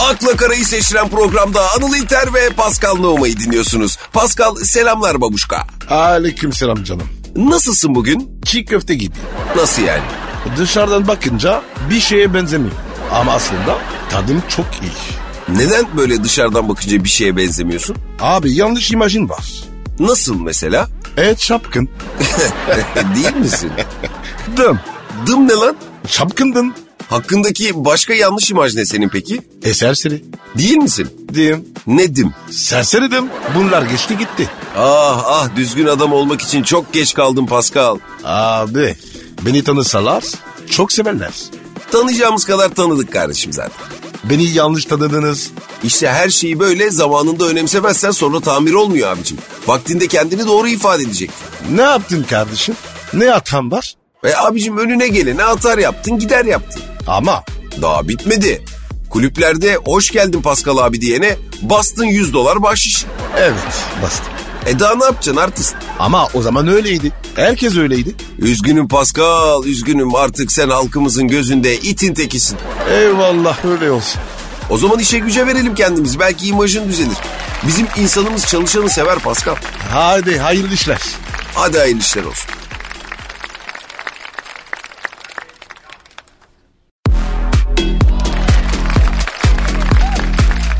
Akla Kara'yı seçilen programda Anıl İlter ve Pascal Nohma'yı dinliyorsunuz. Pascal selamlar babuşka. Aleyküm selam canım. Nasılsın bugün? Çiğ köfte gibi. Nasıl yani? Dışarıdan bakınca bir şeye benzemiyor. Ama aslında tadım çok iyi. Neden böyle dışarıdan bakınca bir şeye benzemiyorsun? Abi yanlış imajın var. Nasıl mesela? E, Evet şapkın. Değil misin? Dım. Dım ne lan? Şapkındın. Hakkındaki başka yanlış imaj ne senin peki? E serseri. Değil misin? Dim. Nedim. Serseridim. Bunlar geçti gitti. Ah ah düzgün adam olmak için çok geç kaldım Pascal. Abi beni tanısalar çok severler. Tanıyacağımız kadar tanıdık kardeşim zaten. Beni yanlış tanıdınız. İşte her şeyi böyle zamanında önemsemezsen sonra tamir olmuyor abicim. Vaktinde kendini doğru ifade edecek. Ne yaptın kardeşim? Ne hatam var? Ve E abicim önüne gelene atar yaptın gider yaptın. Ama Daha bitmedi. Kulüplerde hoş geldin Pascal abi diyene bastın 100 dolar bahşiş. evet bastım. E daha ne yapacaksın artist? Ama o zaman öyleydi. Herkes öyleydi. Üzgünüm Pascal, üzgünüm artık sen halkımızın gözünde itin tekisin. Eyvallah öyle olsun. O zaman işe güce verelim kendimizi. Belki imajın düzelir. Bizim insanımız çalışanı sever Pascal. Hadi hayırlı işler. Hadi hayırlı işler olsun.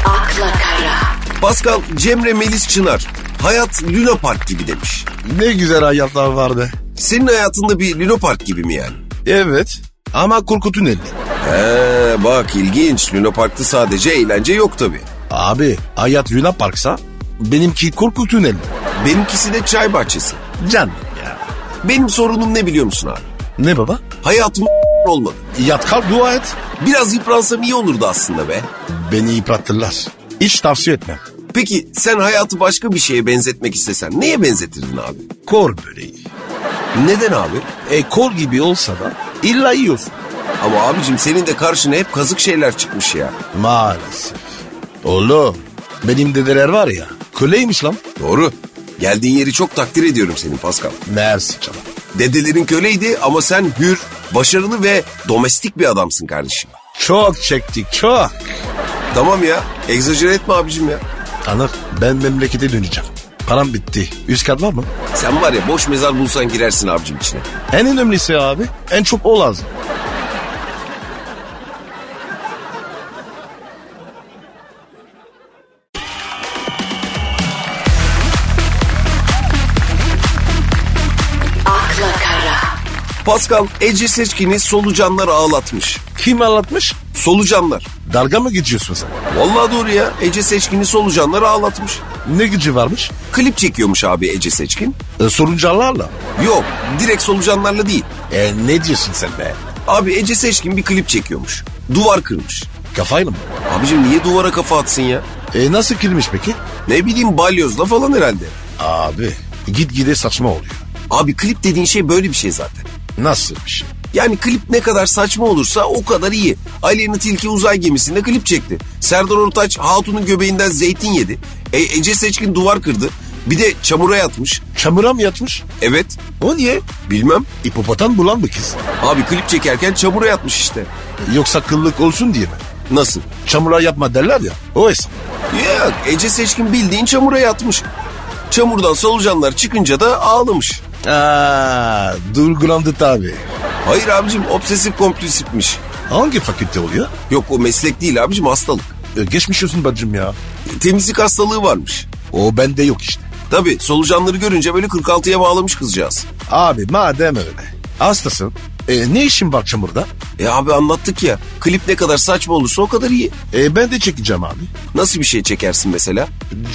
akla kara, Pascal Cemre Melis Çınar. Hayat Luna Park gibi demiş. Ne güzel hayatlar vardı. Senin hayatında bir Luna Park gibi mi yani? Evet ama korku tüneli. He Ee, bak ilginç. Luna Park'ta sadece eğlence yok tabii. Abi hayat Luna Park'sa benimki korku tüneli. Benimkisi de çay bahçesi. Canım ya. Benim sorunum ne biliyor musun abi? Ne baba? Hayatım olmadı. Yat kalk dua et. Biraz yıpransam iyi olurdu aslında be. Beni yıprattırlar. Hiç tavsiye etmem. Peki sen hayatı başka bir şeye benzetmek istesen neye benzetirdin abi? Kor böreği. Neden abi? E kor gibi olsa da illa yiyorsun. Ama abicim senin de karşına hep kazık şeyler çıkmış ya. Maalesef. Oğlum benim dedeler var ya köleymiş lan. Doğru. Geldiğin yeri çok takdir ediyorum senin Pascal. Mersi canım. Dedelerin köleydi ama sen hür, başarılı ve domestik bir adamsın kardeşim. Çok çektik çok. Tamam ya, egzajere etme abicim ya. Anır ben memlekete döneceğim. Param bitti. Üst kat var mı? Sen var ya boş mezar bulsan girersin abicim içine. En önemlisi abi en çok o lazım. akla kara, Pascal Ece Seçkin'i solucanlar ağlatmış. Kim anlatmış? Solucanlar. Dalga mı geçiyorsun sen? Vallahi doğru ya. Ece Seçkin'i solucanlar ağlatmış. Ne gücü varmış? Klip çekiyormuş abi Ece Seçkin. E, soruncalarla. Yok, direkt solucanlarla değil. E ne diyorsun sen be? Abi Ece Seçkin bir klip çekiyormuş. Duvar kırmış. Kafayla mı? Abicim niye duvara kafa atsın ya? E nasıl kirmiş peki? Ne bileyim balyozla falan herhalde. Abi git gide saçma oluyor. Abi klip dediğin şey böyle bir şey zaten. Nasıl bir şey? Yani klip ne kadar saçma olursa o kadar iyi. Aleyna Tilki uzay gemisinde klip çekti. Serdar Ortaç Hatun'un göbeğinden zeytin yedi. E, Ece Seçkin duvar kırdı. Bir de çamura yatmış. Çamura mı yatmış? Evet. O niye? Bilmem. Hipopotam bulan mı kız? Abi klip çekerken çamura yatmış işte. Yoksa kıllık olsun diye mi? Nasıl? Çamura yapma derler ya. O hesap. Yok Ece Seçkin bildiğin çamura yatmış. Çamurdan solucanlar çıkınca da ağlamış. Aaa durgulandı tabi. Hayır abicim obsesif kompulsifmiş. Hangi fakülte oluyor? Yok o meslek değil abicim hastalık. E, geçmiş olsun bacım ya. Temizlik hastalığı varmış. O bende yok işte. Tabii solucanları görünce böyle 46'ya bağlamış kızcağız. Abi madem öyle. Hastasın. E, ne işin var çamurda? E abi anlattık ya klip ne kadar saçma olursa o kadar iyi. E, ben de çekeceğim abi. Nasıl bir şey çekersin mesela?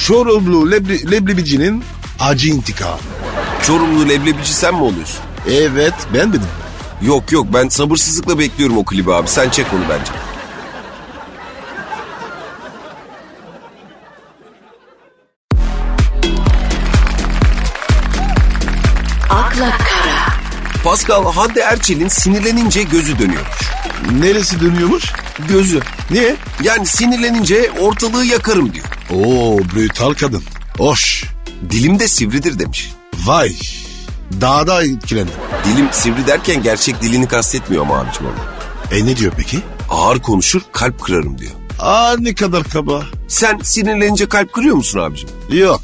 Çorumlu lebli, leblebicinin acı intikamı. Çorumlu leblebici sen mi oluyorsun? Evet ben dedim. Yok yok ben sabırsızlıkla bekliyorum o klibi abi sen çek onu bence. akla kara, Pascal Hande Erçel'in sinirlenince gözü dönüyormuş. Neresi dönüyormuş? Gözü. Niye? Yani sinirlenince ortalığı yakarım diyor. Oo brutal kadın. Hoş. Dilim de sivridir demiş. Vay. Daha da etkilendim. Dilim sivri derken gerçek dilini kastetmiyor ama abicim onu. E ne diyor peki? Ağır konuşur kalp kırarım diyor. Aa ne kadar kaba. Sen sinirlenince kalp kırıyor musun abicim? Yok.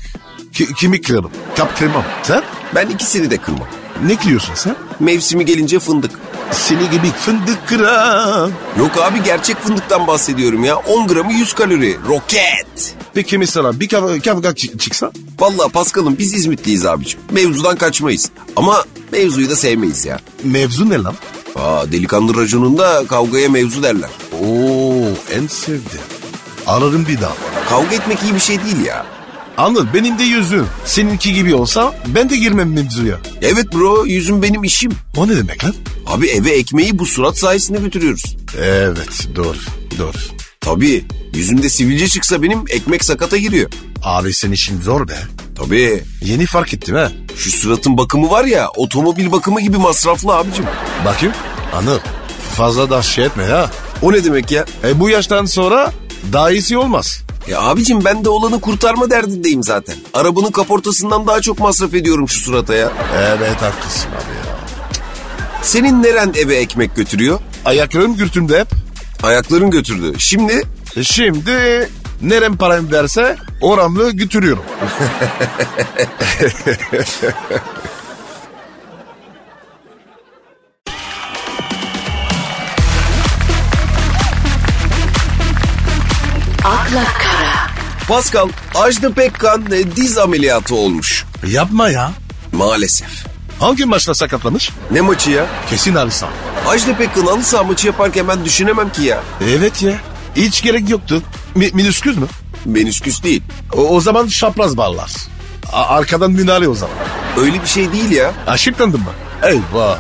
Ki- kimi kırarım? Kap kırmam. Sen? Ben ikisini de kırmam. Ne kırıyorsun sen? Mevsimi gelince fındık. Seni gibi fındık kıran. Yok abi gerçek fındıktan bahsediyorum ya. 10 gramı 100 kalori. Roket. Peki mesela bir kavga, kavga çı- çıksa? Vallahi Paskal'ım biz İzmitliyiz abicim. Mevzudan kaçmayız. Ama mevzuyu da sevmeyiz ya. Mevzu ne lan? Aa delikanlı raconunda kavgaya mevzu derler. Oo en sevdiğim. Ararım bir daha. Kavga etmek iyi bir şey değil ya. Anladın benim de yüzüm. Seninki gibi olsa ben de girmem mevzuya. Evet bro yüzüm benim işim. O ne demek lan? Abi eve ekmeği bu surat sayesinde götürüyoruz. Evet doğru doğru. Tabii yüzümde sivilce çıksa benim ekmek sakata giriyor. Abi senin işin zor be. Tabii Yeni fark ettim ha. şu suratın bakımı var ya otomobil bakımı gibi masraflı abicim. Bakayım. Anıl fazla da şey etme ha. O ne demek ya? E bu yaştan sonra daha iyisi olmaz. Ya abicim ben de olanı kurtarma derdindeyim zaten. Arabanın kaportasından daha çok masraf ediyorum şu surata ya. Evet haklısın abi ya. Senin neren eve ekmek götürüyor? Ayaklarım gürtümde hep. Ayakların götürdü. Şimdi E Şimdi nerem param verse oramlı götürüyorum. akla kara, Pascal Ajda Pekkan e, diz ameliyatı olmuş. Yapma ya. Maalesef. Hangi maçta sakatlanır? Ne maçı ya? Kesin Arisa. Ajda Pekkan halı saha maçı yaparken ben düşünemem ki ya. Evet ya. Hiç gerek yoktu. Mi, minisküs mü? Menisküs değil. O, o zaman şapraz bağlar. A- arkadan minare o zaman. Öyle bir şey değil ya. Aşıklandın mı? Eyvah.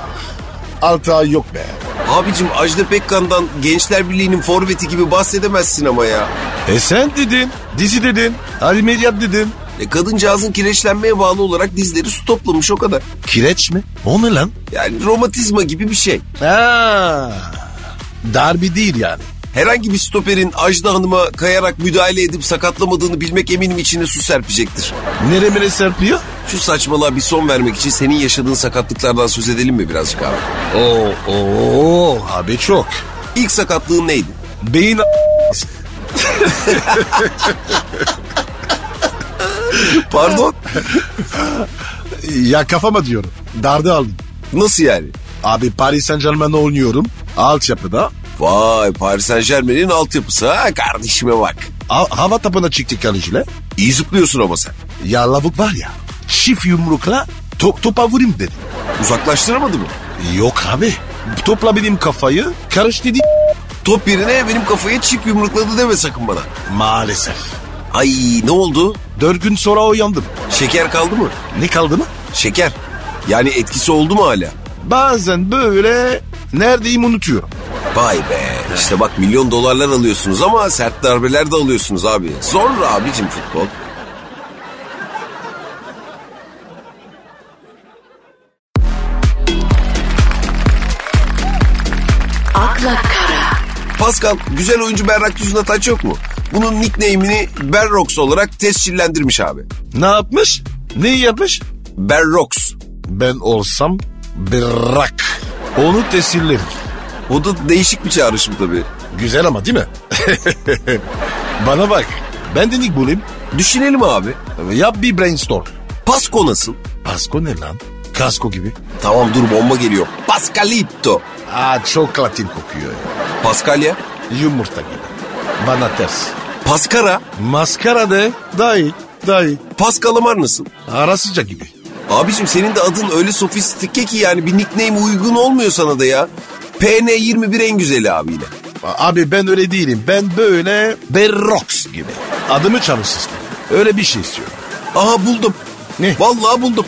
Altı ay yok be. Abicim Ajda Pekkan'dan Gençler Birliği'nin forveti gibi bahsedemezsin ama ya. E sen dedin, dizi dedin, ameliyat dedin. E kadıncağızın kireçlenmeye bağlı olarak dizleri su toplamış o kadar. Kireç mi? O ne lan? Yani romatizma gibi bir şey. Ha. Darbi değil yani. Herhangi bir stoperin Ajda Hanım'a kayarak müdahale edip sakatlamadığını bilmek eminim içine su serpecektir. Neremine serpiyor? Şu saçmalığa bir son vermek için senin yaşadığın sakatlıklardan söz edelim mi birazcık abi? Oo, oo, abi çok. İlk sakatlığın neydi? Beyin a- Pardon? ya kafama diyorum. Darda aldım. Nasıl yani? Abi Paris Saint Germain'de oynuyorum. Altyapıda. Vay Paris Saint Germain'in altyapısı ha kardeşime bak. Ha- hava tapına çıktık kaleciyle. İyi zıplıyorsun ama sen. Ya lavuk var ya. Şif yumrukla top, topa vurayım dedi. Uzaklaştıramadı mı? Yok abi. Topla benim kafayı karıştı değil. Top yerine benim kafaya çip yumrukladı deme sakın bana. Maalesef. Ay ne oldu? Dört gün sonra uyandım. Şeker kaldı mı? Ne kaldı mı? Şeker. Yani etkisi oldu mu hala? Bazen böyle neredeyim unutuyorum. Vay be. İşte bak milyon dolarlar alıyorsunuz ama sert darbeler de alıyorsunuz abi. Zor abicim futbol. akla kara, Pascal güzel oyuncu Berrak Tüzün'e taç yok mu? Bunun nickname'ini Berrox olarak tescillendirmiş abi. Ne yapmış? Neyi yapmış? Berrox. Ben olsam bırak. Onu tesirlerim. O da değişik bir çağrışım tabii. Güzel ama değil mi? Bana bak. Ben de nick bulayım. Düşünelim abi. Yap bir brainstorm. Pasko nasıl? Pasko ne lan? Kasko gibi. Tamam dur bomba geliyor. Pascalito. Aa çok latin kokuyor ya. Paskalya. Yumurta gibi. Bana ters. Paskara. Maskara de daha iyi. Daha iyi. Paskalamar nasıl? Arasıca gibi. Abicim senin de adın öyle sofistike ki yani bir nickname uygun olmuyor sana da ya. PN21 en güzeli abiyle. Abi ben öyle değilim. Ben böyle Berrox gibi. Adımı çalışsın. Öyle bir şey istiyorum. Aha buldum. Ne? Vallahi buldum.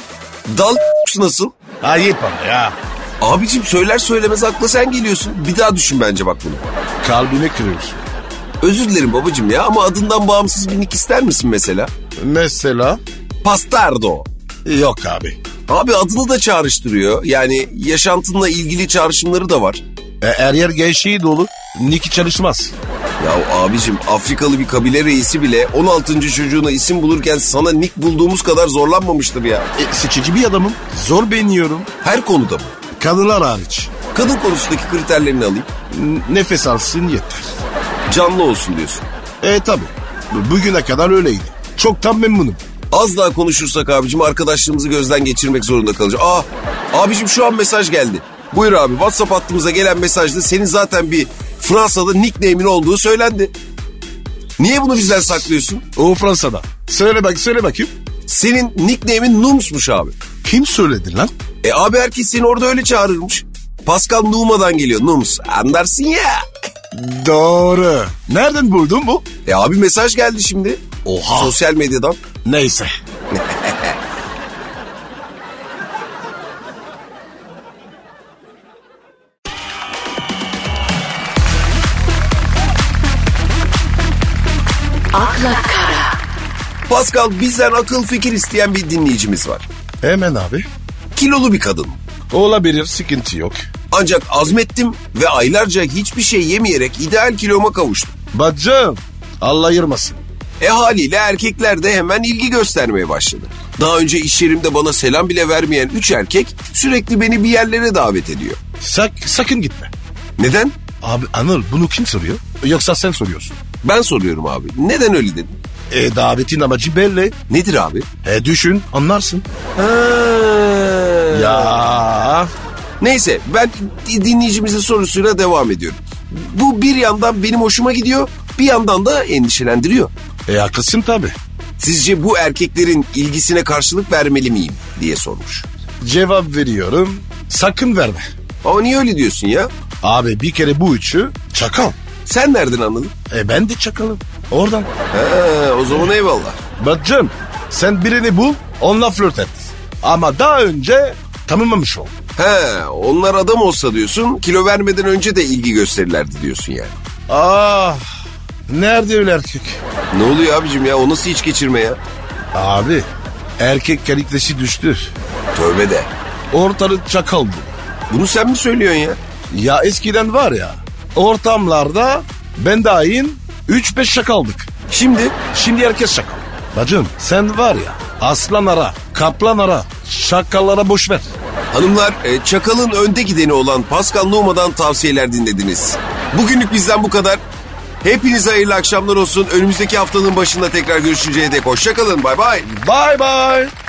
Dal nasıl? Ayıp ama ya. Abicim söyler söylemez akla sen geliyorsun. Bir daha düşün bence bak bunu. Kalbimi kırıyorsun. Özür dilerim babacım ya ama adından bağımsız bir nick ister misin mesela? Mesela? Pastardo. Yok abi. Abi adını da çağrıştırıyor. Yani yaşantınla ilgili çağrışımları da var. E, her yer gençliği dolu. Niki çalışmaz. Ya abicim Afrikalı bir kabile reisi bile 16. çocuğuna isim bulurken sana nick bulduğumuz kadar zorlanmamıştır ya. E, seçici bir adamım. Zor beğeniyorum. Her konuda mı? Kadınlar hariç. Kadın konusundaki kriterlerini alayım. N- nefes alsın yeter. canlı olsun diyorsun. E tabi. Bugüne kadar öyleydi. Çoktan memnunum. Az daha konuşursak abicim arkadaşlığımızı gözden geçirmek zorunda kalacağız. Aa abicim şu an mesaj geldi. Buyur abi WhatsApp hattımıza gelen mesajda senin zaten bir Fransa'da nickname'in olduğu söylendi. Niye bunu bizden saklıyorsun? O Fransa'da. Söyle bak söyle bakayım. Senin nickname'in Nums'muş abi. Kim söyledi lan? E abi herkes seni orada öyle çağırırmış. Pascal Numa'dan geliyor Nums. Anlarsın ya. Doğru. Nereden buldun bu? E abi mesaj geldi şimdi. Oha. Sosyal medyadan. Neyse. akla kara, Pascal bizden akıl fikir isteyen bir dinleyicimiz var. Hemen abi. Kilolu bir kadın. Olabilir sıkıntı yok. Ancak azmettim ve aylarca hiçbir şey yemeyerek ideal kiloma kavuştum. Bacım. Allah ayırmasın. E haliyle erkekler de hemen ilgi göstermeye başladı. Daha önce iş yerimde bana selam bile vermeyen üç erkek sürekli beni bir yerlere davet ediyor. Sak, sakın gitme. Neden? Abi Anıl bunu kim soruyor? Yoksa sen soruyorsun. Ben soruyorum abi. Neden öyle dedin? E davetin amacı belli. Nedir abi? E düşün anlarsın. Ya. Neyse ben dinleyicimizin sorusuyla devam ediyorum. Bu bir yandan benim hoşuma gidiyor, bir yandan da endişelendiriyor. E haklısın tabi. Sizce bu erkeklerin ilgisine karşılık vermeli miyim diye sormuş. Cevap veriyorum. Sakın verme. Ama niye öyle diyorsun ya? Abi bir kere bu üçü çakal. Sen nereden anladın? E ben de çakalım. Oradan. Ha, o zaman eyvallah. Bacım sen birini bul onunla flört et. Ama daha önce tanımamış ol. He, onlar adam olsa diyorsun, kilo vermeden önce de ilgi gösterirlerdi diyorsun yani. Ah nerede öyle erkek? Ne oluyor abicim ya, o nasıl iç geçirme ya? Abi erkek kalitesi düştü. Tövbe de. Ortalık çakal bu. Bunu sen mi söylüyorsun ya? Ya eskiden var ya ortamlarda ben dahil 3-5 şakaldık. Şimdi Şimdi herkes şakal. Bacım sen var ya aslan ara, kaplan ara, şakallara boş ver. Hanımlar, e, Çakal'ın önde gideni olan Pascal Numa'dan tavsiyeler dinlediniz. Bugünlük bizden bu kadar. Hepinize hayırlı akşamlar olsun. Önümüzdeki haftanın başında tekrar görüşünceye dek hoşçakalın. Bay bay. Bye bye.